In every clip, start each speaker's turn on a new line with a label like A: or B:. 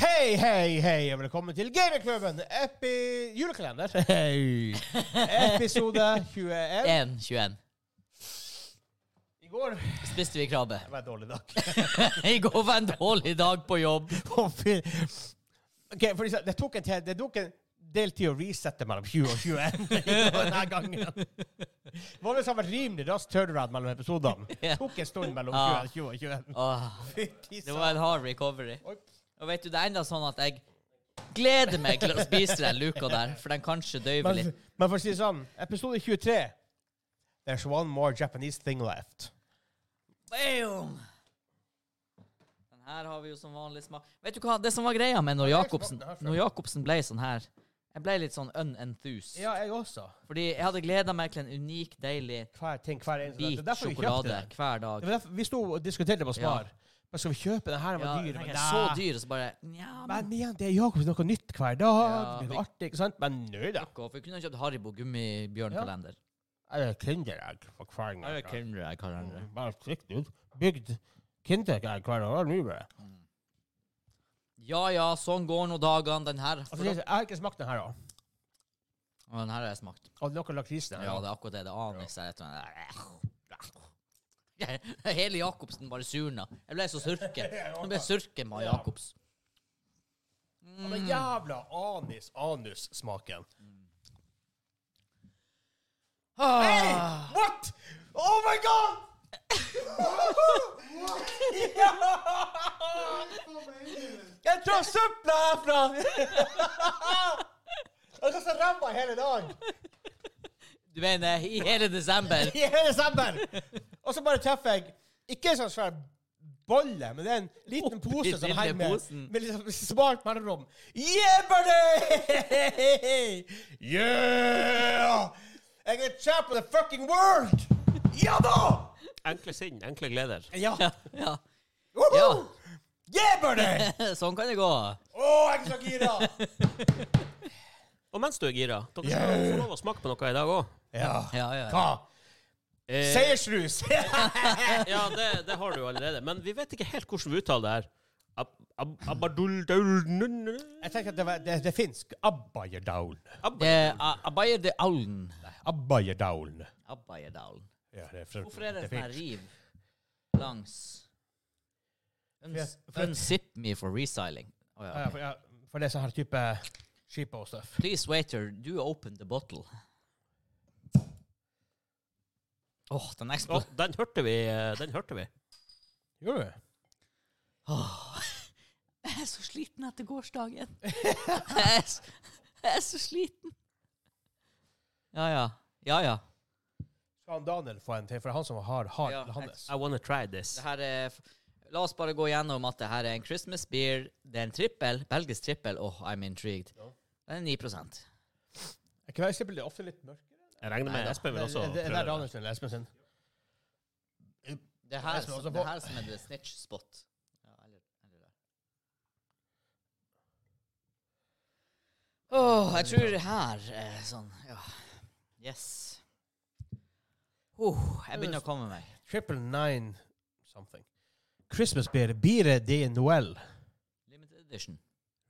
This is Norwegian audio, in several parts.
A: Hei, hei, hei, og velkommen til Gamingklubben epi... julekalender. Hei. Episode 21.
B: 1, 21.
A: I går det
B: Spiste vi krabbe.
A: var en dårlig dag.
B: I går var en dårlig dag på jobb.
A: Å, fy. ok, for de sa- Det tok en, te- det tok en del tid å resette mellom 20 og 21 denne gangen. Vanligvis har det vært rimelig raskt turnaround mellom episodene. Det tok en stund mellom
B: Ja.
A: 20 og 21.
B: Åh,
A: Fytti
B: Ah. det var en hard recovery.
A: Oi.
B: Og vet du, det er enda sånn at jeg gleder meg til å spise den luka der, for den kanskje døyver
A: Men,
B: litt.
A: men for å si det sånn, episode 23 There's one more Japanese thing left.
B: Boom! Den her har vi jo som vanlig smak. Vet du hva, det som var greia med når Jacobsen, når Jacobsen ble sånn her, jeg ble litt sånn unenthused.
A: Ja, jeg også.
B: Fordi jeg hadde gleda meg til en unik, deilig
A: Hver ting, hver eneste
B: hvit
A: Det er derfor vi kjøpte
B: sjokolade
A: den. Det
B: hver dag.
A: var derfor vi sto og diskuterte på Spar. Men skal vi kjøpe den her? Den
B: Ja,
A: var dyr.
B: den
A: Men,
B: er
A: nei.
B: så dyr, og så bare Nja, men
A: men igjen, det er Jakob noe nytt hver dag.
B: Ja,
A: det blir
B: vi-
A: noe artig, ikke sant? Men nøy da.
B: For vi kunne kjøpt Haribo gummibjørnkalender.
A: Jeg er kinderegg for hver gang.
B: kalender.
A: Mm, Bare trygt ut. Bygd kinderegg hver dag. nå bare.
B: Ja ja, sånn går nå dagene. Den her
A: Altså, jeg jeg har ikke smakt den her, da.
B: Å, Den her har jeg smakt.
A: Og noe lakris der.
B: Ja, det er akkurat det. Det aner jeg seg etter Hele Jacobsen bare surna. Jeg ble så surke. Jeg ble surken av Jacobs.
A: Ja, men jævla anis, anus-smaken. Hey,
B: Ah,
A: what? Oh my god! Jeg tror søpla herfra! Jeg skal så ræva i hele dagen.
B: du mener i hele desember?
A: I hele desember. Og så bare treffer jeg ikke en sånn svær bolle, men det er en liten
B: Oppi
A: pose som
B: lille
A: henger med,
B: posen.
A: med liksom smart mellomrom. Yeah, buddy! Yeah! Jeg er champ of the fucking world! Ja da!
C: Enkle sinn, enkle gleder.
A: Ja.
B: Ja.
A: Woho!
B: ja.
A: Yeah, buddy!
B: Sånn kan det gå.
A: Å, jeg er så gira!
C: Og mens du er gira, dere skal få lov å smake på noe i dag òg.
A: Ja.
B: Ja, ja.
A: Hva? Seiersrus!
C: ja, det, det har du jo allerede. Men vi vet ikke helt hvordan vi uttaler det her. Ab ab abaduldauldnun-
A: jeg tenker at det, var, det, det er finsk. Abbajerdaul.
C: ab
B: Det er Abayerdaulen.
A: Abbajerdaul.
B: Abayerdaulen.
A: Ja, det er fra-
B: Hvorfor er det en
A: finsk.
B: sånn her riv langs Uns,
A: For- for-
B: Unzip me for restyling. Å ja.
A: Ja, for, ja, for det er sånn her type skip og stuff.
B: Please, waiter, do open the bottle. Åh, den
C: Å,
B: eksploderer.
C: den hørte vi. eh, Den hørte vi.
A: Gjorde du?
B: Jeg er så sliten etter gårsdagen. jeg, er, s- jeg er så sliten. Ja, ja. Ja, ja.
A: Skal han Daniel få en til? For det er han som har hard
B: Ja,
A: Johannes.
C: I wanna try this.
B: Det her er f- La oss bare gå gjennom at det her er en Christmas beer. Det er en trippel. Belgisk trippel. Åh, I'm intrigued. Den er 9
A: Er ikke Vestlippel det er ofte litt mørkere?
C: Jeg regner med at Espen vil også
A: det, det, det
C: prøve
A: er
C: det.
A: Daniel sin, Espen sin.
B: Det er her,
A: Jeg skal også få-
B: som- det her som er the snitch spot. Ja, eller, eller der. Åh, jeg tror her er sånn Ja. Yes. Oh, jeg begynner å komme meg.
A: Triple nine something. Christmas beer. Bire de Noel.
B: Limited edition.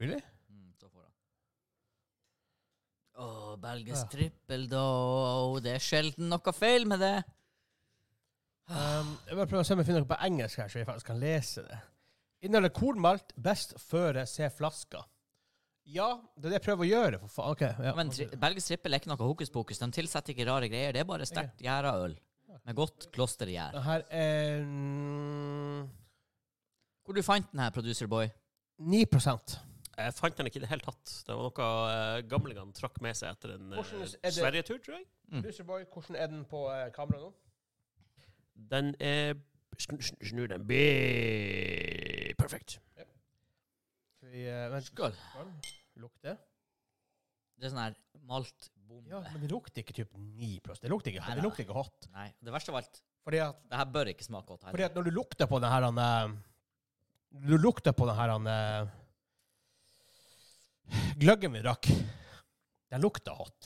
A: Really?
B: Mm, så får han. Åh, belgisk trippel, da. Åh, det er sjelden noe feil med det.
A: Um, jeg bare prøver å se om jeg finner noe på engelsk her, så jeg faktisk kan lese det. Inneholder kornmalt. Best føre se flaska. Ja, det er det jeg prøver å gjøre, for faen. Ok, ja.
B: Men tri belgisk trippel er ikke noe hokus pokus. De tilsetter ikke rare greier. Det er bare sterkt gjæra øl med godt klostergjær.
A: Det her er mm,
B: Hvor du fant den her, producer boy?
A: 9
C: Jeg fant den ikke i det hele tatt. Det var noe eh, gamlingene trakk med seg etter en eh,
A: Hvordan er det-
C: Sverige-tur, tror jeg.
A: Loserboy, hvordan er den på eh, kamera nå?
C: Den er sn- sn- Snur den Be- Perfekt.
A: Skal vi eh, vent,
B: Skål.
A: lukte?
B: Det er sånn her maltbombe.
A: Ja, men det lukter ikke typ 9 Det lukter ikke,
B: Nei,
A: det
B: nei,
A: lukter ikke hot.
B: Nei, det verste av alt,
A: Fordi at,
B: det her bør ikke smake godt
A: fordi
B: heller.
A: at når du lukter på den her han, eh, Du lukter på den her han, eh, Gløggen vi drakk. Den lukter hot.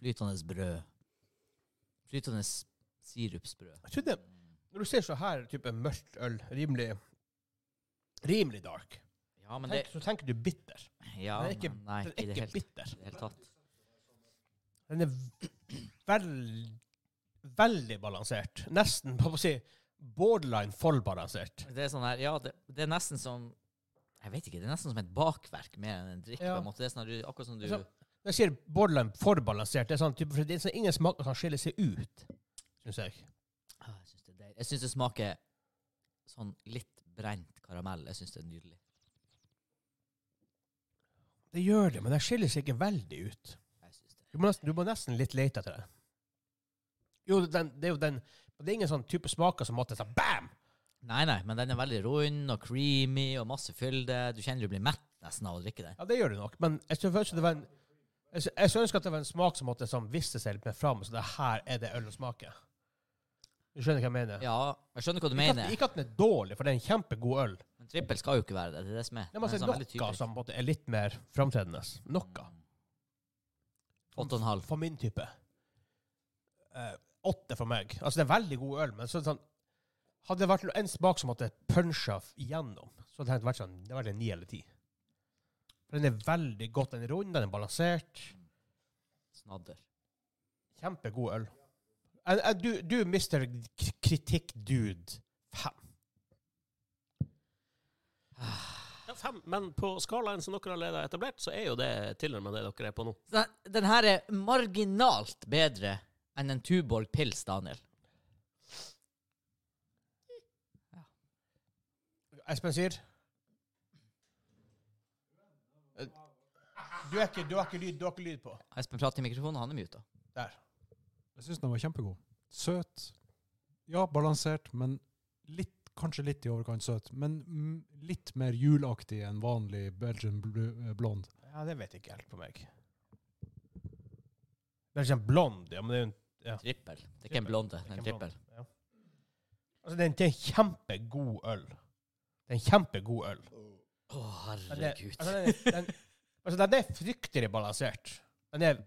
B: Flytende brød. Flytende s- sirupsbrød.
A: Jeg trodde, når du ser så her type mørkt øl, rimelig Rimelig dark.
B: Ja, men det
A: Tenk, så tenker du bitter.
B: ja,
A: Den er ikke,
B: men Nei,
A: den
B: ikke i
A: er
B: det
A: ikke
B: hele
A: bitter.
B: i det hele tatt.
A: Den er veldig, veldig balansert. Nesten, hva skal jeg si, borderline forbalansert.
B: Det er sånn her Ja, det, det er nesten som Jeg vet ikke. Det er nesten som et bakverk mer enn en drikk. på
A: Ja.
B: en måte. Det er sånn at du, akkurat som du
A: Altså, Når jeg sier borderline forbalansert, det er sånn type, for det er sånn ingen smaker kan skille seg ut, syns jeg.
B: Ah, Jeg syns det, er deilig. Jeg synes det smaker sånn litt brent karamell. Jeg syns det er nydelig.
A: Det gjør det, men den skiller seg ikke veldig ut.
B: Jeg synes det.
A: Du må nesten, du må nesten litt lete etter det. Jo, den, det er jo den Det er ingen sånn type smaker som måtte sånn bam!
B: Nei, nei, men den er veldig rund og creamy og masse fylde. Du kjenner du blir mett nesten av å drikke den.
A: Ja, det gjør det nok, men jeg skulle ønske det var en jeg skulle- jeg skulle ønske at det var en smak som måtte sånn viste seg litt mer fram. Så det her er det ølet smaker. Du skjønner hva jeg mener?
B: Ja, jeg skjønner hva du
A: Ikke at,
B: mener.
A: ikke at den er dårlig, for det er en kjempegod øl.
B: Men trippel skal jo ikke være det. Det er det som er.
A: Det er, masse
B: Den er sånn veldig
A: noe
B: tydelig.
A: altså, som på en måte er litt mer framtredende. Noe.
B: Åtte og en halv.
A: For min type. Eh, åtte for meg. Altså, det er en veldig god øl, men så, er det sånn Hadde det vært en smak som måtte puncha f- igjennom, så hadde det vært sånn Det hadde vært en ni eller ti. For den er veldig godt. Den er rund, den er balansert.
B: Snadder.
A: Kjempegod øl. Eh, eh, Du, du mister kritikk-dude. Fem.
C: Ja, fem, men på skalaen som dere allerede har etablert, så er jo det tilnærmet det dere er på nå.
B: Så den- Den her er marginalt bedre enn en Tuborg pils, Daniel.
A: Espen sier Eh, Du er ikke, du har ikke lyd, du har ikke lyd på.
B: Espen prater i mikrofonen, han er muta.
A: Der.
D: Jeg syns den var kjempegod. Søt. Ja, balansert, men litt, kanskje litt i overkant søt. Men mm, litt mer julaktig enn vanlig Belgian bl- eh, blond.
A: Ja, det vet jeg ikke helt på meg. Det er ikke en blond, ja, men det er jo en
B: Trippel. Det er ikke en blonde, det er en
A: ikke en
B: trippel.
A: blond, Ja. Altså, det er en, det er en kjempegod øl. Det er en kjempegod øl.
B: Å,
A: Men det-
B: herregud.
A: Altså, den, den, altså, den er fryktelig balansert. Den er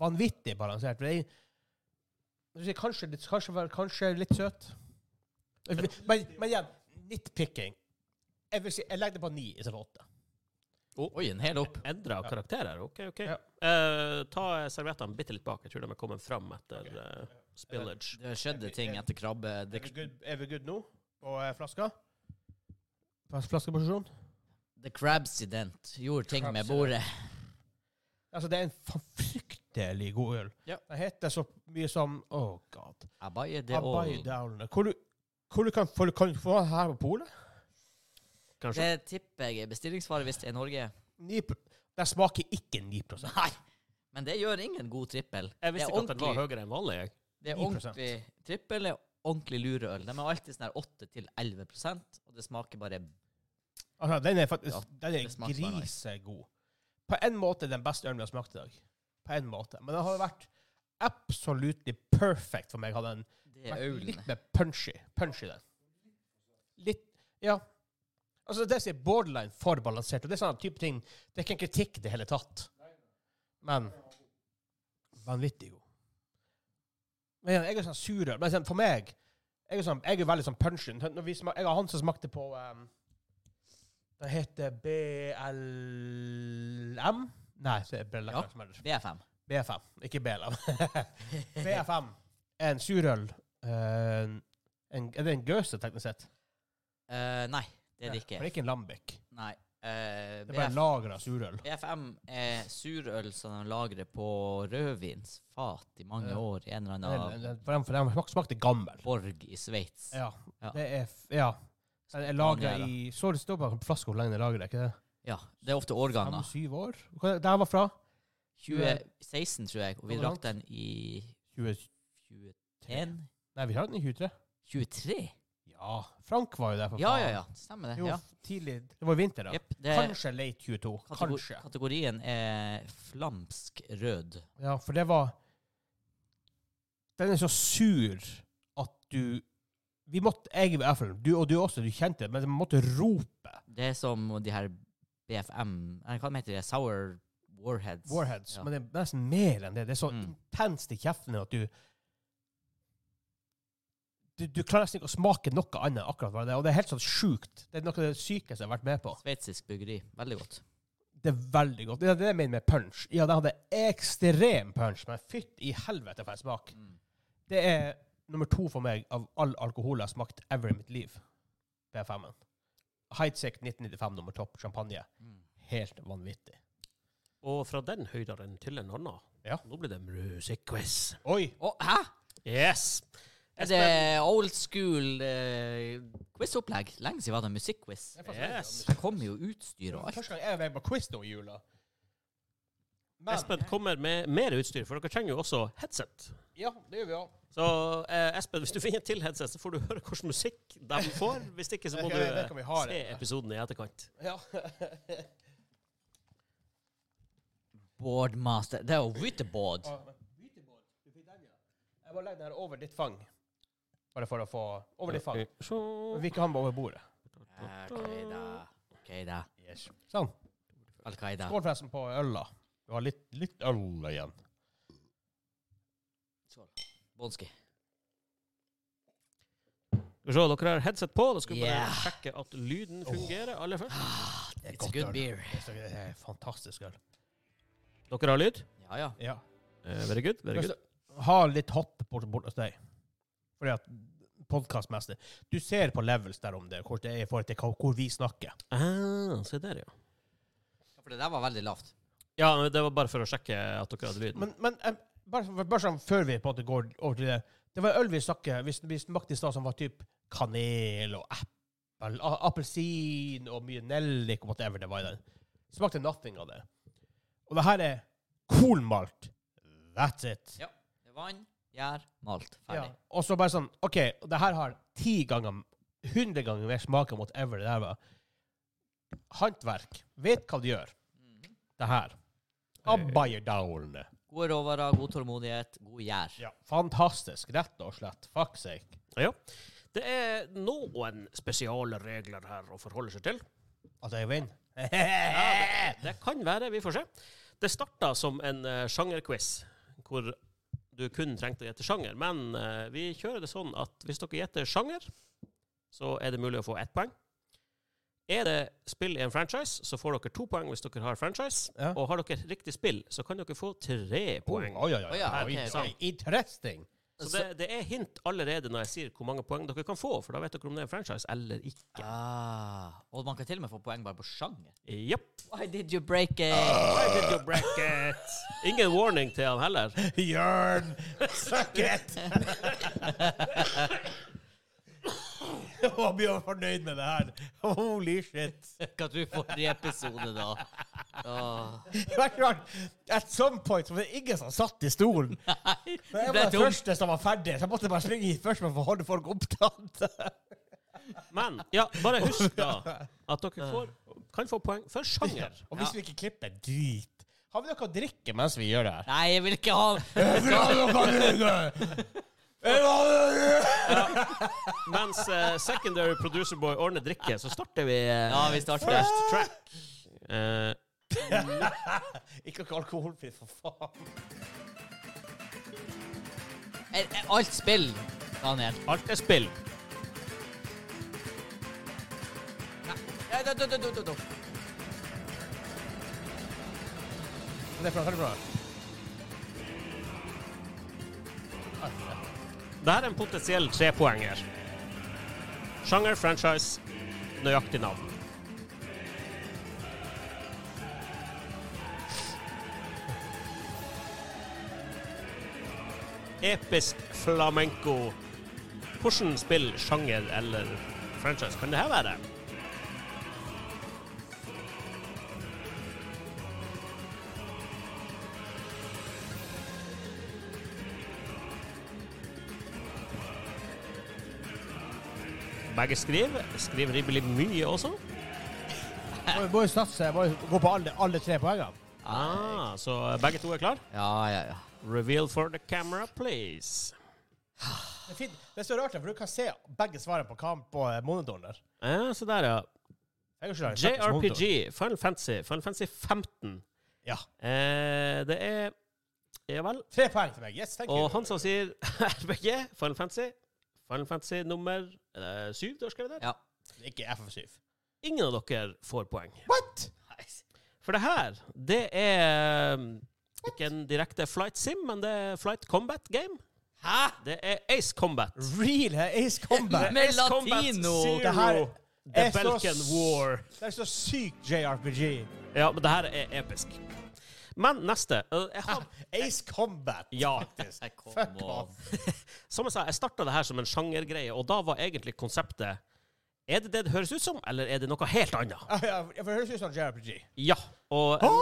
A: vanvittig balansert. for Det er, jeg vil si, kanskje, litt, kanskje, vel- kanskje litt søt. Men, men igjen, nitpicking. Jeg, vil si, jeg legger det på ni istedenfor åtte.
B: Oi, en hel opp.
C: Endra
A: Ja.
C: karakterer. OK, OK.
A: Ja.
C: Eh, ta serviettene bitte litt bak. Jeg tror de er kommet fram etter
A: Ok.
C: eh, spillage.
B: Det skjedde ting etter krabbe...
A: Er
B: Det,
A: vi good, er vi good nå på eh, flaska? Flas- Flaskeposisjon?
B: the crabsident gjorde ting med bordet.
A: Altså, det er en fa- fryktelig god øl.
B: Ja.
A: Den heter så mye som Oh god.
B: Abaye de
A: Abai
B: all.
A: Down. Hvor du, hvor du kan, få, kan du få den her på polet?
C: Kanskje.
B: Det tipper jeg er bestillingsvare hvis det er Norge.
A: 9 Den smaker ikke 9
B: Nei! Men det gjør ingen god trippel.
C: Jeg
B: Det
C: visste
B: er
C: ikke at den var
B: ordentlig-
C: høyere enn vanlig. Jeg.
B: Det er
A: 9%.
B: ordentlig trippel er ordentlig lureøl. De er alltid sånn her 8-11 og det smaker bare
A: Altså, den er faktisk
B: Ja,
A: den
B: det
A: er
B: smaker bare nice.
A: grisegod. På en måte den beste ølen vi har smakt i dag. På en måte. Men den har vært absolutely perfect for meg. Hadde den
B: Det er
A: vært
B: ølen.
A: litt mer punchy. Punchy, den. Litt Ja. Altså, det som er borderline for balansert, og det er sånn type ting Det er ikke en kritikk i det hele tatt. Men vanvittig god. Men igjen, jeg er sånn surøl. Men sånn, for meg jeg er, sånn, jeg er veldig sånn punchy. Når vi smak, jeg har han som smakte på um, Den heter BLM? Nei, så er det BLM
B: Ja.
A: som er det.
B: BFM.
A: BFM, ikke BLM. BFM er en surøl. eh, en, er det en gøse, teknisk sett?
B: Eh, nei, det er det ikke.
A: For det er ikke en lambic.
B: Nei. eh,
A: Det er bare
B: BF
A: lagra surøl.
B: BFM er surøl som de lagrer på rødvinsfat i mange
A: Ja.
B: år i en eller
A: For
B: annen
A: den- for den smak- smakte gammel.
B: borg i Sveits.
A: Ja.
B: Ja.
A: Det er f- Ja. Den er lagra
B: Mange er
A: i Så det står bare på flaska hvor lenge den er lagra, ikke det?
B: Ja, det er ofte årganger.
A: Fem-syv år? Hva- Der var fra?
B: 2016, tror jeg, og vi
A: Hvor
B: drakk
A: langt?
B: den i
A: 20
B: 21
A: Nei, vi har den i 23.
B: 23?
A: Ja. Frank var jo der, for
B: Ja, ja, ja. Stemmer det.
A: Jo,
B: ja.
A: tidlig Det var i vinter, da.
B: Jepp, det er
A: Kanskje late 22.
B: kategor
A: Kanskje.
B: kategorien er flamsk rød.
A: Ja, for det var Den er så sur at du Vi måtte, jeg i hvert fall, du og du også, du kjente det, men man måtte rope
B: Det er som de her BFM Nei, hva heter det? Sour Warheads.
A: Warheads.
B: Ja.
A: Men det er nesten mer enn det. Det er så
B: Mm.
A: intenst i kjeften at du du, du klarer nesten ikke å smake noe annet enn akkurat hva det er. Og det er helt sånn sjukt. Det er noe av det sykeste jeg har vært med på.
B: Sveitsisk bryggeri. Veldig godt.
A: Det er veldig godt. Det er det jeg mener med punch. Ja, det hadde ekstrem punch, men fytt i helvete for en smak. Det er nummer to for meg av all alkohol jeg har smakt ever i mitt liv. B5-en. Heidsieck 1995 nummer topp. Champagne. Helt vanvittig.
C: Og fra den høydaren til en annen.
A: Ja.
C: Nå blir det music quiz.
A: Oi!
B: Å, hæ?
C: Yes!
B: Er det old school eh, quizopplegg? Lenge siden var det musikkquiz.
A: Det er faktisk-
C: Yes.
B: Det kommer jo utstyr og alt.
A: Første gang jeg var med på quiz nå i jula. Men
C: Espen kommer med mer utstyr, for dere trenger jo også headset.
A: Ja, det gjør vi òg.
C: Så eh, Espen, hvis du finner til headset, så får du høre hvilken musikk de får. Hvis ikke, så må
A: Jeg
C: du
A: vet
C: eh,
A: ikke om vi har
C: se
A: det.
C: episoden i etterkant.
A: Ja.
B: Boardmaster. Det er jo whiteboard.
A: Ah, men Beautyboard, du fikk den, ja. Jeg bare legger den her over ditt fang. Bare for å få Over ditt fang. Men
C: Så-
A: Vi kan ha den over bordet.
B: Al-Qaida. Al-Qaida.
A: Sånn.
B: Al-Qaida.
A: Skål forresten på øla. Du har litt, litt øl igjen.
B: Bonski.
C: Skal vi se, dere har headset på. Da skal vi bare
B: Yeah.
C: sjekke at lyden fungerer aller først.
A: Ah, Det
B: It's a good beer.
A: Det er så- det er fantastisk øl.
C: Dere har lyd?
B: Ja, ja.
A: Ja.
C: Eh, very good. Very good.
A: Ha litt hopp bort, bort hos deg. Fordi at podkastmester Du ser på levels der om det, hvordan det er i forhold til hva- hvor vi snakker.
C: Ah, se der, ja.
B: For det der var veldig lavt.
C: Ja, men Det var bare for å sjekke at dere hadde lyden.
A: Men, men eh, bare, for- bare sånn før vi på en måte går over til det Det var øl vi snakket vi, vi smakte i stad som var typ kanel og eppel, a- appelsin og mye nellik og whatever det var i den. Smakte nothing av det. Og det her er kornmalt. That's it.
B: Ja. Det er vann, gjær, malt.
A: Ja.
B: Ferdig.
A: Og så bare sånn OK, det her har ti ganger, hundre ganger mer smak enn whatever det der var. Håndverk. Vet hva de gjør.
B: Mhm.
A: Det her. Abbayerdalene.
B: Gode råvarer, god tålmodighet, god gjær.
A: Ja. Fantastisk, rett og slett. Fuck sake.
C: Ja. Det er noen spesialregler her å forholde seg til.
A: At Altså, jeg vinner?
C: Ja, det, det kan være. Vi får se. Det starta som en eh, sjangerquiz, hvor du kun trengte å gjette sjanger. Men eh, vi kjører det sånn at hvis dere gjetter sjanger, så er det mulig å få ett poeng. Er det spill i en franchise, så får dere to poeng hvis dere har franchise.
A: Ja.
C: Og har dere riktig spill, så kan dere få tre poeng.
A: Oi, oi, oi.
B: Å ja,
A: oi,
B: ok,
A: oi,
B: sant.
A: Interesting.
C: Så det, det er hint allerede når jeg sier hvor mange poeng dere kan få, for da vet dere om det er en franchise eller ikke.
B: Ah, og man kan til og med få poeng bare på sjanger.
C: Jepp.
B: Why did you break it?
C: Why did you break it? Ingen warning til han heller.
A: Jørn, suck it! Jeg blir jo fornøyd med det her. Holy shit.
B: Hva du får i episode, da? Åh.
A: Det var klart, At some point så var det ingen som satt i stolen.
B: Nei,
A: Men
B: det
A: jeg
B: ble
A: var den
B: dumt.
A: første som var ferdig, så jeg måtte bare springe hit først for å holde folk opptatt.
C: Men ja, bare husk da at dere får, kan få poeng for sjanger.
A: Og hvis
B: Ja.
A: vi ikke klipper, drit. Har vi noe å drikke mens vi gjør det her?
B: Nei, jeg vil ikke ha
C: Mens eh, secondary producer boy ordner drikke, så starter vi eh,
B: Ja, vi starter.
C: first track. Eh,
A: Ikke noe alkoholfritt, for faen.
B: Er- er Alt spill, Daniel.
C: alt er spill.
B: Nei, da, da, da, da, da, da.
A: Det er bra, det er bra.
C: Dette er en potensiell trepoenger. Sjanger, franchise, nøyaktig navn. Episk flamenco. Hvordan spill, sjanger eller franchise kan det her være? Begge skriver. Skriver rimelig mye også.
A: Må- Må jo satse, må jo gå på alle, alle tre poengene.
C: Ah, så begge to er klar?
B: Ja, ja, ja.
C: Reveal for the camera, please.
A: Det er, fint. det er så rart, for du kan se begge svarene på kamp på eh, monitoren der.
C: Ja, se der, ja.
A: Jeg er jo ikke der, jeg snakker på monitor.
C: JRPG, Final Fantasy, Final Fantasy 15.
A: Ja.
C: Eh, det er Ja vel.
A: Tre poeng til meg. Yes, thank
C: Og
A: you.
C: han som sier RPG, Final Fantasy, Final Fantasy nummer er det syv, du har skrevet der?
B: Ja.
A: Ikke FF7.
C: Ingen av dere får poeng.
A: What?!
B: Nice.
C: For det her, det er um, ikke en direkte flight sim, men det er flight combat game.
B: Hæ?
C: Det er Ace Combat.
A: Real Ace Combat!
B: Med
C: Ace Combat
B: latino!
C: Zero,
A: Det her
C: The
A: er så
C: Balkan
A: s-
C: War.
A: Det er så sykt JRPG.
C: Ja, men det her er episk. Men neste uh, jeg har,
A: Ace Combat,
C: Ja.
A: faktisk.
B: Jeg kom
A: Fuck
B: og-
A: off.
C: Som jeg sa, jeg starta det her som en sjangergreie, og da var egentlig konseptet Er det det det høres ut som, eller er det noe helt annet?
A: Ah, ja, for det høres ut som JRPG.
C: Ja. Og um,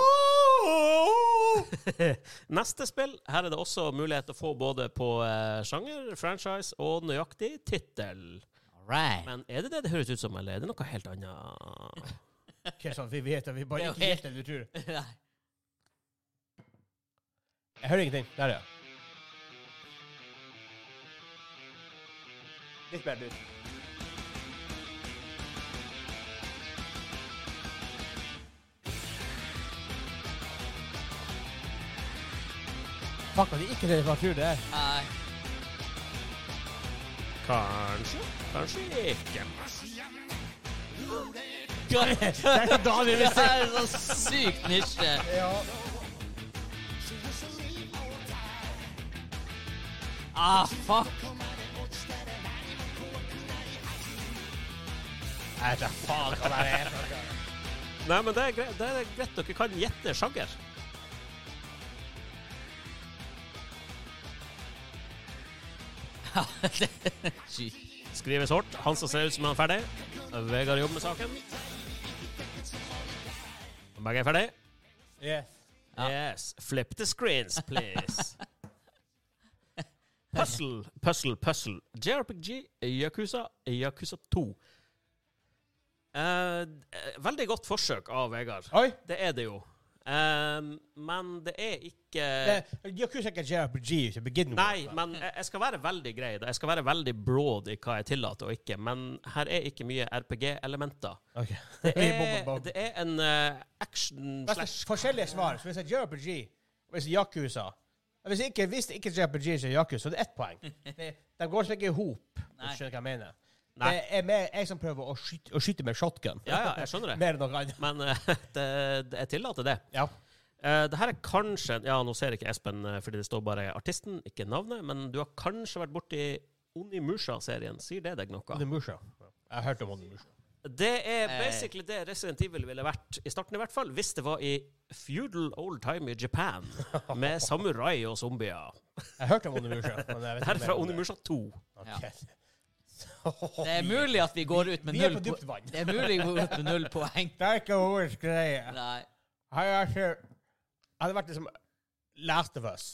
A: Oh!
C: neste spill Her er det også mulighet til å få både på eh, sjanger, franchise og nøyaktig tittel.
B: Alright.
C: Men er det det det høres ut som, eller er det noe helt annet?
A: Ikke sånn at vi vet at vi
B: Det
A: bare
B: er
A: ikke
B: jo
A: vet det du tror.
B: Nei.
A: Jeg hører ingenting. Der, ja. Litt bedre ut. Fuck, det er ikke det man tror det er.
B: Nei.
C: Kanskje, kanskje ikke.
A: Det er ikke Daniel
B: Det
A: vil
B: her er så sykt nisje.
A: Ja.
B: Ah, fuck.
A: Jeg vet da faen hva det er. for noe.
C: Nei, men det er greit, det er greit dere kan gjette sjanger.
B: Shit.
C: Skrives hardt. Han som ser ut som han er ferdig. Vegard jobber med saken. Begge er ferdig.
A: Yes.
C: Yes. Flip the screens, please. Puzzle, puzzle, puzzle. JRPG, Yakuza, Yakuza 2. Eh, veldig godt forsøk av Vegard.
A: Oi.
C: Det er det jo. Eh, men det er ikke
A: Yakuza er ikke JRPG to begin with.
C: Nei, men jeg jeg skal være veldig grei. da. Jeg skal være veldig broad i hva jeg tillater og ikke. Men her er ikke mye RPG-elementer.
A: Ok.
C: Det,
A: Jeg
C: er-
A: bommer bak.
C: det er en eh, action
A: Vent,
C: slash
A: Forskjellige svar. Så hvis det er JRPG, og hvis det er Yakuza Hvis det ikke, hvis det ikke er JRPG, så er det Yakuza, så det er ett poeng. Det, de går liksom ikke i hop.
B: Nei.
A: Skjønner du hva jeg mener?
C: Nei.
A: Det er mer jeg som prøver å skyte, å skyte med shotgun.
C: Ja, ja, jeg skjønner det.
A: Mer enn noe annet.
C: Men eh, det, det, jeg tillater det.
A: Ja.
C: Uh, det her er kanskje Ja, nå ser ikke Espen eh, fordi det står bare artisten, ikke navnet, men du har kanskje vært borti Onimusha-serien. Sier det deg noe?
A: Onimusha. Jeg har hørt om Onimusha.
C: Det er
B: Eh.
C: basically det Resident Evil ville vært i starten, i hvert fall. Hvis det var i feudal old time i Japan, med samurai og zombier.
A: Jeg hørte om Onimusha. men jeg vet
C: Det
A: ikke
C: her er
A: mer
C: fra
A: om det.
C: Onimusha 2.
A: Ok.
B: Det er mulig at vi går ut med
A: Vi er på
B: null po-
A: dypt vann.
B: Det er mulig vi går ut med null poeng.
A: Det er ikke vår greie.
B: Nei.
A: Har jeg ikke Hadde vært liksom Last of Us.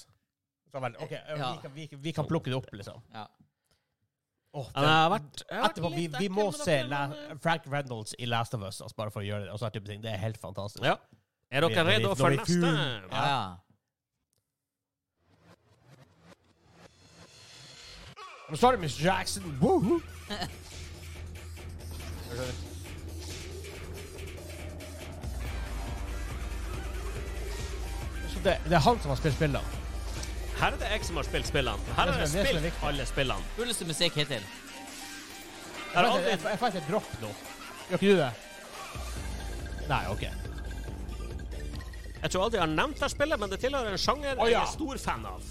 A: Så vel, OK,
B: Ja.
A: vi, kan, vi, kan- vi kan plukke det opp, liksom.
B: Ja.
A: Åh,
C: Ja, det har vært, det har vært
A: Etterpå, vi,
C: litt
A: vi
C: ekkel,
A: må
C: men
A: se
C: det-
A: La
C: men-
A: Frank Reynolds i Last of Us, altså, bare for å gjøre det. Og sånne type ting. Det er helt fantastisk.
C: Ja. Er
A: Vi er
C: dere
A: litt
C: rede for
A: dårlig
C: neste?
B: Ja, ja.
A: I'm sorry, Miss Jackson. Woohoo! Så det, det er han som har spilt spillet.
C: Her er det jeg som har spilt spillene. Her
A: Det
C: har jeg
A: som er- det som er
C: spilt
A: viktig.
C: alle spillene.
B: Kuleste musikk hittil.
C: Jeg har
A: Jeg, jeg,
C: aldri
A: jeg fant et dropp nå. Gjør ikke du det? Nei, OK.
C: Jeg tror aldri jeg har nevnt det spillet, men det tilhører en sjanger
A: Å,
C: jeg
A: ja.
C: er stor fan av.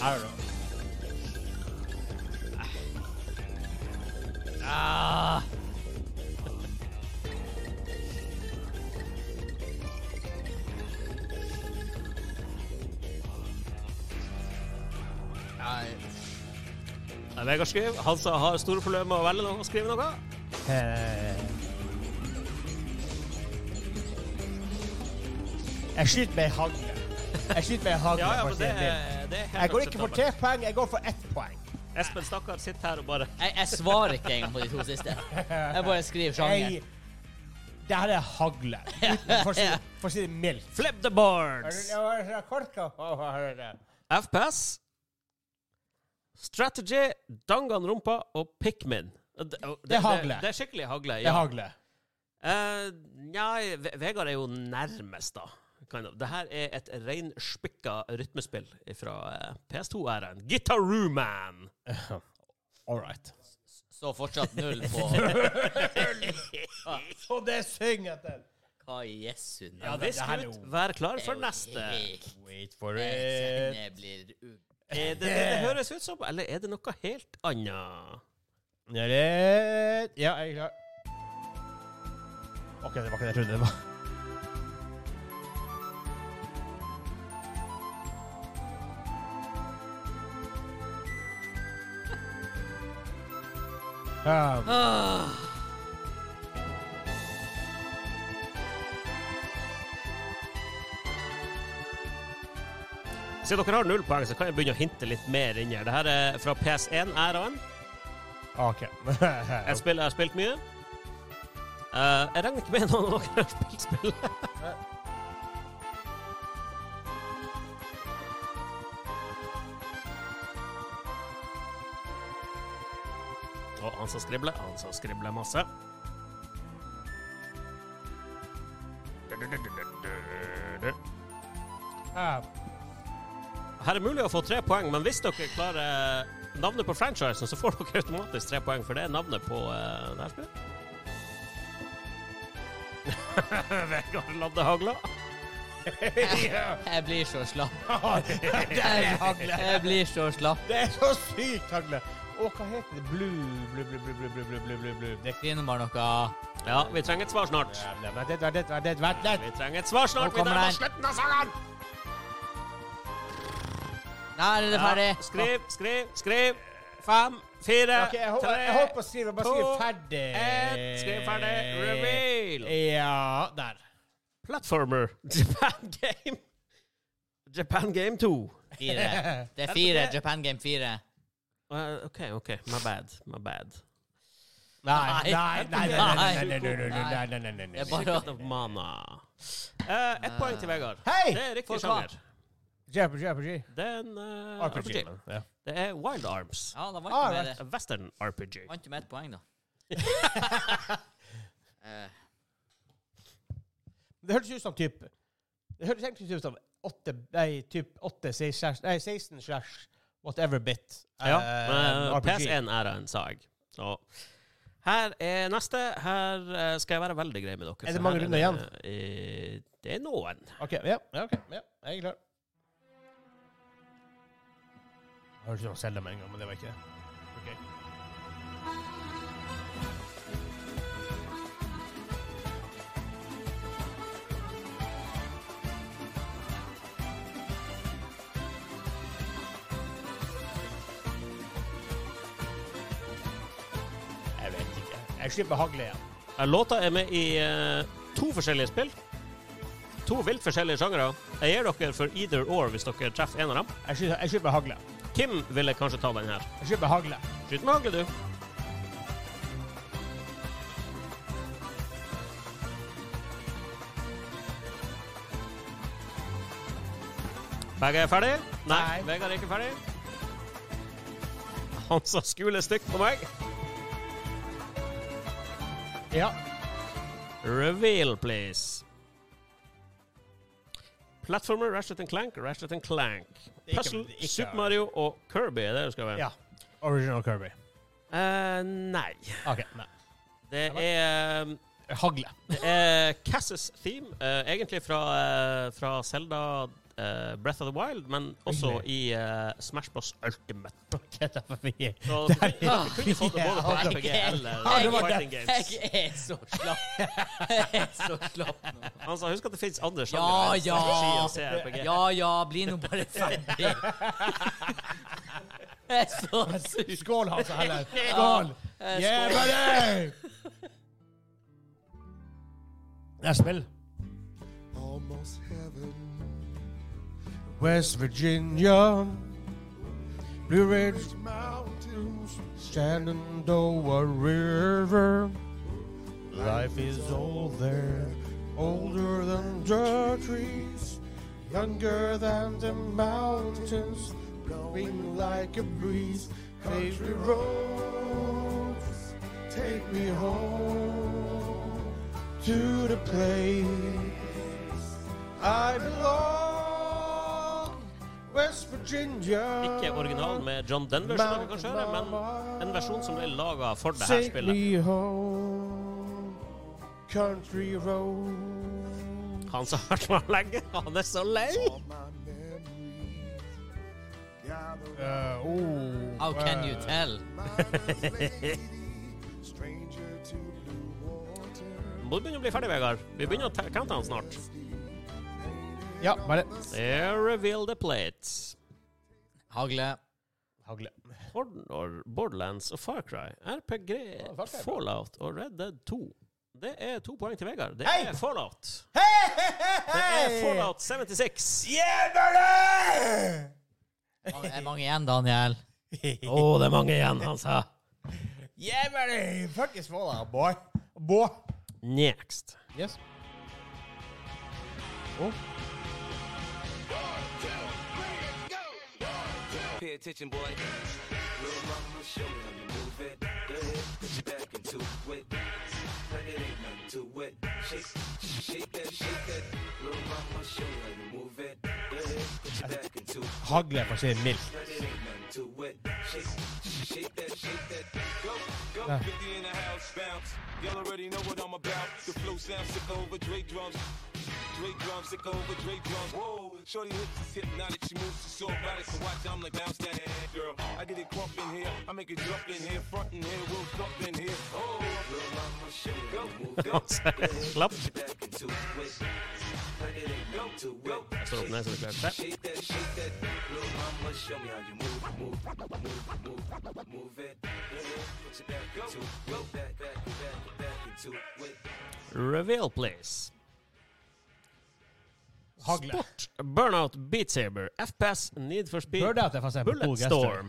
A: I don't know.
B: Ah.
C: Det er Vegard skriver. Han som har store problemer med å velge noe og skrive noe.
A: Eh. Jeg skyter med hagle. Jeg skyter med hagle.
C: Ja, ja,
A: for å
C: men
A: se
C: det,
A: en del.
C: er- det er helt
A: jeg går ikke for
C: akseptabelt.
A: tre poeng, jeg går for ett poeng.
C: Espen, stakkar, sitter her og bare
B: Jeg, jeg svarer ikke engang på de to siste. Jeg bare skriver sjanger.
A: Jeg, det her er hagle. Uten- For å si, for å si det mildt.
C: Flip the boards! FPS, Strategy, Danganronpa og Pikmin. Det, det,
A: hagle.
C: Det, er skikkelig hagle.
A: Det
C: Ja.
A: er hagle.
C: Eh, Nja, Ve- Vegard er jo nærmest, da. Kind of. Det her er et reinspikka rytmespill fra eh, PS2-æraen. Guitaroo Man!
A: All right.
B: Så fortsatt null på
A: Så det synger etter!
B: Hva i jesu navn?
A: Ja, det-
C: Visk
A: her er
C: ut,
A: jo-
C: vær klar
B: Det er
C: for
B: jo
C: neste.
B: helt-
A: Wait for
B: Eh,
A: it.
B: sendene blir u-
C: Er det det det høres ut som, eller er det noe helt annet?
A: Ja, det- ja, jeg er klar. OK, det var ikke det jeg trodde det var. Um,
B: Ah,
C: Siden dere har null poeng, så kan jeg begynne å hinte litt mer inni her. Det her er fra PS1-æraen.
A: OK.
C: Et spill jeg har spilt mye. Eh, jeg regner ikke med noen av dere har spilt spillet. Og han som skribler, han som skribler masse.
A: Ah,
C: Her er mulig å få tre poeng, men hvis dere klarer eh, navnet på franchisen, så får dere automatisk tre poeng, for det er navnet på uh, det her spillet. Vegard Ladde Hagla.
B: jeg blir så slapp.
A: det er hagle.
B: Jeg blir så slapp.
A: Det er så sykt hagle. Å, hva heter det? Blue, blue, blue, blue, blue, blue, blue, blue, blue, blue. Det
B: Trine var noe
C: Ja, vi trenger et svar snart.
A: Jævla, men det var det var det var det.
C: Vi trenger et svar snart.
B: Nå kommer
C: vi
B: den.
C: nærmer oss slutten av sangen.
B: Der er det
C: Ja,
B: ferdig.
C: skriv, skriv, skriv. Fem, fire,
A: Ok, jeg, hol-
C: tre,
A: jeg holdt på å skrive, bare skriv
C: to,
A: ferdig.
C: ett. Skriv ferdig. Reveal.
A: Eh, Ja, der.
C: Platformer. Japan Game. Japan Game 2.
B: Fire. Det er fire. Japan Game 4.
C: Eh, OK, OK. My bad. My bad.
A: Nei, nei, nei, nei, nei, nei, nei, nei, nei, nei, nei, nei,
B: Det er
A: nei.
B: bare
C: Secret of Mana. Eh, Ett poeng til Vegard.
A: Hei!
C: Det er riktig
B: For hva?
C: sjanger.
A: JRPG, JRPG.
C: Det er en eh,
A: RPG.
C: RPG.
A: Ja.
C: Det er Wild Arms.
B: Ja, da vant
A: Ah,
B: du med
A: right.
B: det.
C: En Western RPG.
B: Vant du med ett poeng, da. Eh,
A: Det hørtes ut som typ Det hørtes egentlig ut som 8, nei, typ 8, 6, slash- nei, 16 slash whatever bit. eh,
C: Ja. eh,
A: RPG.
C: PS1 er en sag. Så her er neste. Her eh, skal jeg være veldig grei med dere.
A: Er det
C: for
A: mange
C: her
A: runder igjen?
C: det, eh, det er noen.
A: OK, ja, ja, ok, ja, jeg er klar. Jeg hørte noen selge med en gang, men det var ikke det. Ok. Jeg vet ikke. Jeg slipper hagle igjen.
C: Eh, Låta er med i eh, to forskjellige spill. To vilt forskjellige sjangere. Jeg gir dere for either or hvis dere treffer en av dem.
A: Jeg slipper, jeg slipper hagle.
C: Kim ville kanskje ta den her.
A: Jeg slipper hagle.
C: Skyt med hagle, du. Begge er ferdig? Nei,
A: Nei.
C: Vegard er ikke ferdig. Han sa skule stygt på meg.
A: Ja.
C: Reveal, please. Platformer, Ratchet and Clank, Ratchet and Clank.
A: Ikke-
C: Puzzle,
A: ikke-
C: Super Mario og Kirby er det det skal være.
A: ja. Original Kirby.
C: Eh, nei.
A: OK. Nei.
C: Det er eh,
A: Hagle.
C: Eh, Cassis theme, eh, egentlig fra, eh, fra Zelda eh, Breath of the Wild, men også i eh, Smash Bros. Ultimate.
A: Okay, da får vi-
C: Så du kunne,
B: Ah,
C: du kunne fått det både på
A: ja,
C: RPG eller
B: Jeg- jeg-
C: fighting games.
B: Jeg er så slapp. Jeg er så slapp nå.
C: Han sa husk at det finnes andre
B: Ja,
C: sjangere.
B: ja.
C: enn strategi og CRPG.
B: Ja ja, bli nå bare ferdig. Jeg er så sur.
A: Skål, Hans og Helle. Skål!
B: Eh, skål.
A: Jævla deg! Det er spill.
E: Almost heaven,
A: West Virginia, Blue Ridge,
E: rich mountains,
A: Shenandoah River. Life is older, older than the trees, younger than the mountains, blowing like a breeze.
E: country roads, take me home to the place I belong. West Virginia.
C: Ikke originalen med John Denver, som dere kanskje hører, men en versjon som ble laga for det her
E: Take
C: spillet.
E: me home, country road.
C: Han som har vært med lenge, han er så lei!
E: All my memories gather
A: Uh, oh,
B: How can you tell?
E: Miner's lady, stranger to blue water.
C: Må du begynne å bli ferdig, Vegard. Vi begynner å ta- countdown snart.
A: Ja, bare
C: There reveal the plates.
B: Hagle.
A: Hagle.
C: Horden or Borderlands og Far Cry, RPG,
A: Ja, Far Cry er bra.
C: Fallout og Red Dead 2. Det er to poeng til Vegard. Det
A: Hei!
C: er Fallout.
A: Hei, hei, hei!
C: Det er Fallout 76.
A: Yeah, brother!
B: Det er mange igjen, Daniel.
C: Å, det er mange igjen, han sa.
A: Yeah, buddy! Fuck is Fallout, boy. Boy.
C: Next.
A: Yes.
F: Pay attention, boy. Little mama, show me how you move it. Go ahead, put your back into it. Like it ain't nothing to it. Shake, shake that, shake that. Little mama, show me how you move it. Go ahead, put your back into it.
A: Hagle, for å si det mildt.
F: Like it ain't nothing to it. Shake, shake that, shake that. Go, go, 50 in the house, bounce. Y'all already know what I'm about. The flow sounds sick over Dre drums. Dre drums, sick over Dre drums. Whoa, shorty hips is hypnotic. She moves to so erotic. So watch, I'm like, bounce that ass, girl. I get it crump in here. I make it jump in here. Front in here, we'll jump in here. Oh, Little mama, shit. Go, go,
C: Han sa slapp.
F: get back into it. Like it ain't nothing to it.
C: Jeg står opp ned, så vi klarer det.
F: Shake that, shake that. Little mama, show me how you move, move, move, move, move it. Put your back into it. Go back, back, back, back into it.
C: Reveal place.
A: Hagle.
C: Sport, Burnout, Beat Saber, FPS, Need for Speed,
A: Burde at jeg får se på
C: Bullet
A: gode
C: Storm.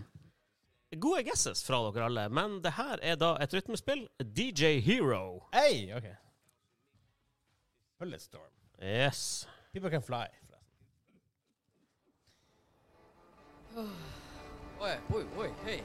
C: Gode guesses fra dere alle, men det her er da et rytmespill. DJ Hero.
A: Hey, ok. Bullet Storm.
C: Yes.
A: People can fly. forresten.
B: Oi, oi, oi, hei.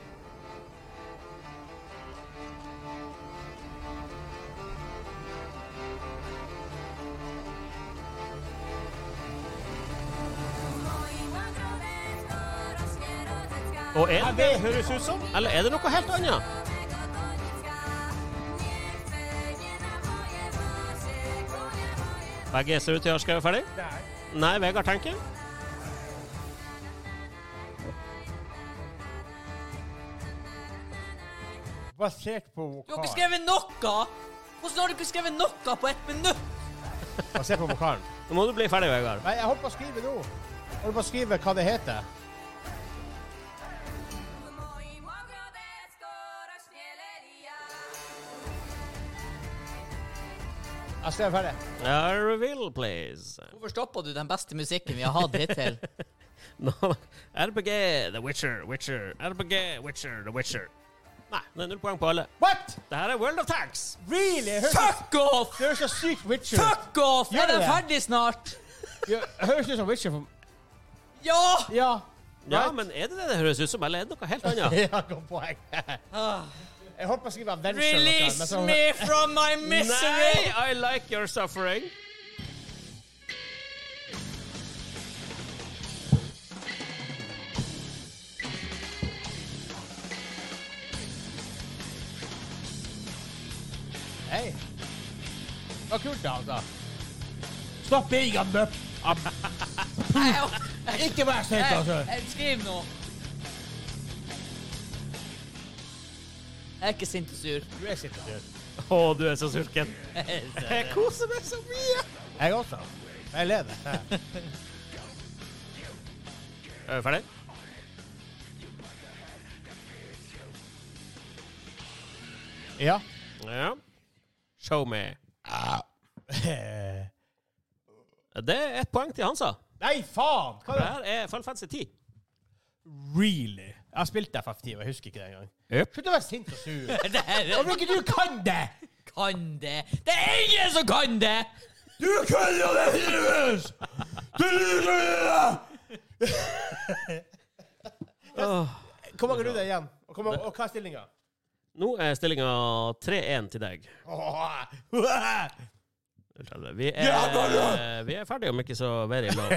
C: Og er det det høres ut som, eller er det noe helt annet? Begge ser ut til å ha skrevet ferdig. Nei, Vegard tenker.
A: Basert på
B: Du har ikke
A: vokalen.
B: skrevet noe! Hvordan har du ikke skrevet noe på ett minutt?
A: Basert på vokalen.
C: Nå må du bli ferdig, Vegard.
A: Nei, jeg holdt på å skrive nå. Jeg holdt på å skrive hva det heter. Jeg skrev ferdig.
C: Ja, reveal, please.
B: Hvorfor stoppa du den beste musikken vi har hatt hittil?
C: Nå, RPG, The Witcher, Witcher, RPG, Witcher, The Witcher. Nei, det er null poeng på alle.
A: What?
C: Det her er World of Tanks.
A: Really? Jeg hører-
B: Fuck off!
A: Det høres så sykt Witcher ut.
B: Fuck off!
A: Gjør
B: Er den
A: det?
B: ferdig snart?
A: Ja, det Høres ut som Witcher. For...
B: Ja!
A: Ja.
C: Ja,
A: Right?
C: men er det det det høres ut som, eller er det noe helt annet?
A: Ja, godt poeng. Ah. Jeg holdt på å skrive Adventure. eller noe, men sånn-
B: Release
A: så-
B: me from my misery!
C: Nei, I like your suffering.
A: Hei. Det var kult, da, altså. Stopp being a mupp.
B: Nei, jeg-
A: Ikke vær sint,
B: Nei,
A: altså.
B: jeg- Skriv nå. Jeg er ikke sint og sur.
A: Du er sint. du.
C: Å, du er så sulken. Jeg koser meg så mye.
A: Jeg også. Jeg lever. Ja.
C: Er vi ferdig?
A: Ja.
C: Ja. Show me.
A: Eh,
C: Det er ett poeng til Hansa.
A: Nei, faen! Hva
C: Det
A: er det?
C: her er Final Fantasy 10.
A: Really? Jeg har spilt FF10, og jeg husker ikke det engang.
C: Yep.
A: Slutt å være sint og sur.
B: Det her
A: Hvorfor ikke du kan det?
B: kan det. Det er ingen som kan det!
A: Du kan jo det, Hildegunn! Du kan jo det! Hvor mange runder igjen? Og, hvor mange, og hva er stillinga?
C: Nå er stillinga 3-1 til deg.
A: Åh,
C: Ultra-11. Vi er,
A: Ja, bare!
C: vi er ferdige om ikke så very long.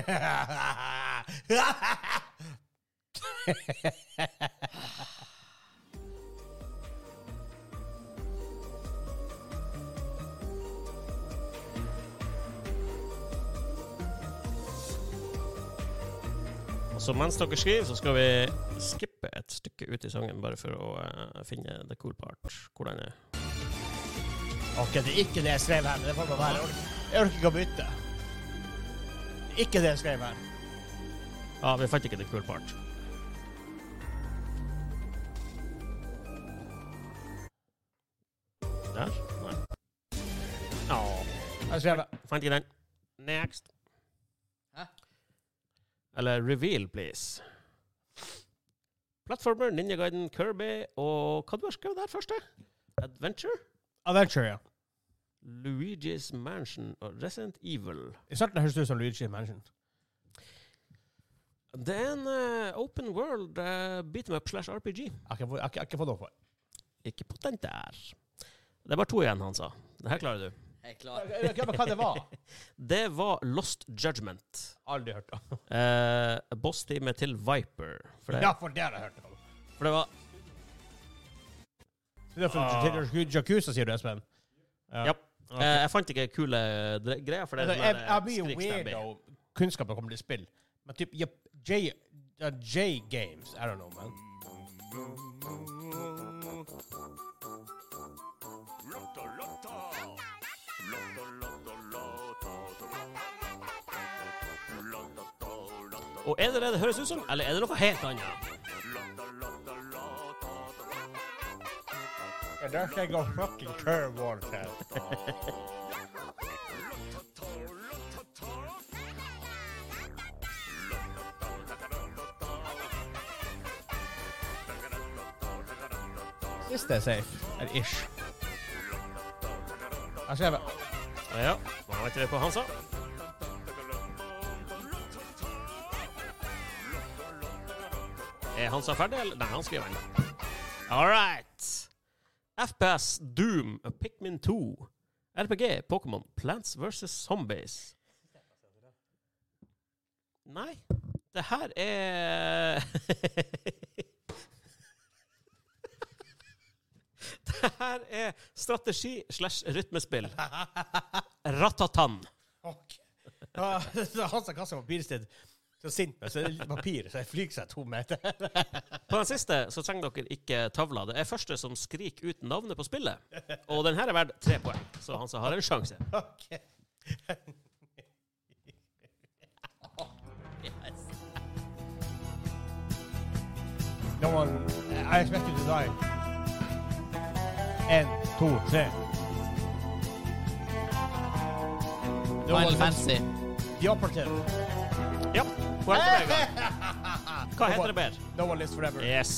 C: Og Så mens dere skriver, så skal vi skippe et stykke ut i sangen, bare for å eh, finne the cool part. Hvordan er
A: Ok, det er ikke det jeg skrev her, men det får bare være. Jeg orker- Jeg orker ikke å bytte. Ikke det jeg skrev her.
C: Ja, vi fant ikke the cool part. Der? Nei. Ja,
A: Jeg skrev
C: fant ikke den. Next.
B: Hæ?
C: Eller reveal, please. Plattformer, Ninja Guiden, Kirby og Hva du har skrevet der første? Adventure?
A: Adventure, ja.
C: Luigi's Mansion og Resident Evil.
A: I starten høres det ut som Luigi Mansion.
C: Det er en eh, open world eh, beat 'em up slash RPG.
A: Jeg har ikke fått- jeg har ikke- jeg har ikke fått noe for.
C: Ikke på den der. Det er bare to igjen, han sa. Det her klarer du.
B: Jeg er klar.
A: Jeg vet ikke hva det var.
C: Det var Lost Judgment.
A: Aldri hørt om.
C: Eh, Boss-teamet til Viper. For det,
A: Ja, for det har jeg hørt om.
C: for det var
A: Så det er for
C: Ah.
A: til Jacuzza, sier du, Espen?
C: Japp. eh, Jeg fant ikke kule dre- greier, for det er
A: Altså,
C: sånn
A: jeg,
C: der, eh,
A: jeg blir jo
C: skrikstabbing.
A: weirdo kunnskapen kommer til spill. Men typ ja, J, ja, J Games, I don't know, man.
C: Og er det det det høres ut som, eller er det noe helt annet?
A: Der skal jeg gå fucking curve warfare. Hvis det er safe, eller ish. Jeg skrev
C: Ja, man vet ikke hva han sa. Er han sa ferdig, eller? Nei, han skriver ennå. All right. FPS, Doom, Pikmin 2, RPG, Pokémon, Plants vs. Zombies. Nei, det her er Det her er strategi slash rytmespill. Ratatan.
A: Ok. Ja, så Han som kastet papirsted, så sint, men så er det litt papir, så jeg flyger seg to meter.
C: På den siste så trenger dere ikke tavla. Det er første som skriker ut navnet på spillet. Og den her er verdt tre poeng, så han som har en sjanse.
A: Ok.
B: Yes.
A: No one, I expect you to die. En, to, tre. No
B: Final
A: one-
B: Fantasy.
A: The operative.
C: Ja, poeng til deg. Vegard. Hva heter det mer?
A: No one lives forever.
C: Yes.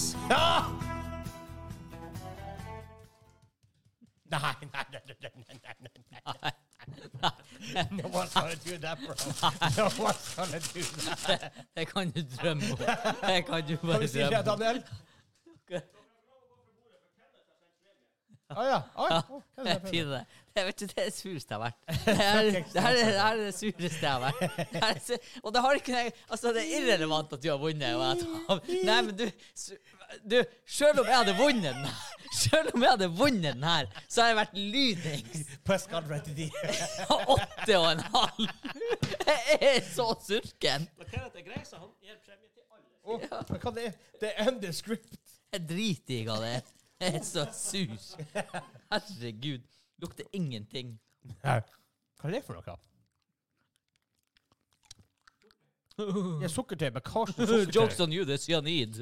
A: Nei, nei, nei, nei, nei, nei, nei, nei. No one's gonna do that, bro. No one's gonna do that.
B: Det kan du drømme om. Det kan du
A: Kan
B: bare
A: vi si det,
B: drømme om.
A: Daniel? Å ja. Oi, å, hva er
B: Det er
A: det der?
B: fint, det. Det vet du, det er det sureste jeg har vært. Det her, det her, er- det her er det sureste jeg har vært. Det her er su- og det har ikke noe- Altså, det er irrelevant at du har vunnet. Og jeg tar- nei, men du, su- du Selv om jeg hadde vunnet den her, selv om jeg hadde vunnet den her, så har jeg vært lydings
A: På Skad 33.
B: av åtte og en halv. Jeg er så surken.
A: Å, men Hva det er? Det er underscript.
B: Jeg driter i hva det er. Jeg er så sur. Herregud. Lukter ingenting.
A: Hva er det for noe? Ja, sukkertøy med Karsten
B: Jokes
A: sukkertøy.
B: on you, det er cyanid.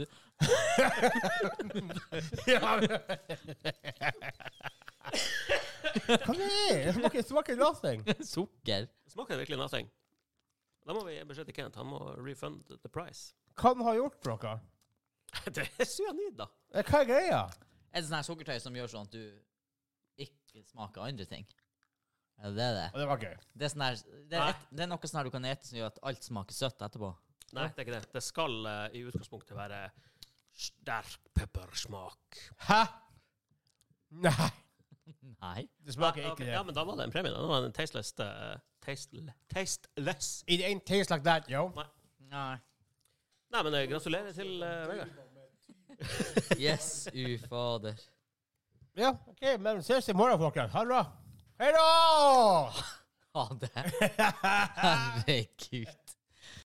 A: Ja, men- Hva det er det? Smaker, smaker nothing.
B: Sukker.
C: Smaker det virkelig nothing? Da må vi beskjede Kent. Han må refund the price.
A: Hva de har gjort for noe?
C: Det er cyanid, da.
A: Eh, Hva er greia?
B: Er det sånn her sukkertøy som gjør sånn at du ikke smaker andre ting? Er det det?
A: Og det var gøy.
B: Det er, sånn her, det er, et, det er noe sånn her du kan ete som gjør at alt smaker søtt etterpå.
C: Nei, det er ikke det. Det skal eh, i utgangspunktet være sterk peppersmak.
A: Hæ? Nei.
B: Nei.
A: Det smaker
C: Ja,
A: ikke
C: ok,
A: det.
C: ja, men da var det en premie. da. Da var det en tasteless eh, tastel- Tasteless.
A: It ain't taste like that, yo.
B: Nei.
C: Nei, men eh, gratulerer til eh, Vegard.
B: Yes, ufader.
A: Ja, OK, men ses i morgen, folkens. Ha det bra. Hei da!
B: Ha det. Herregud.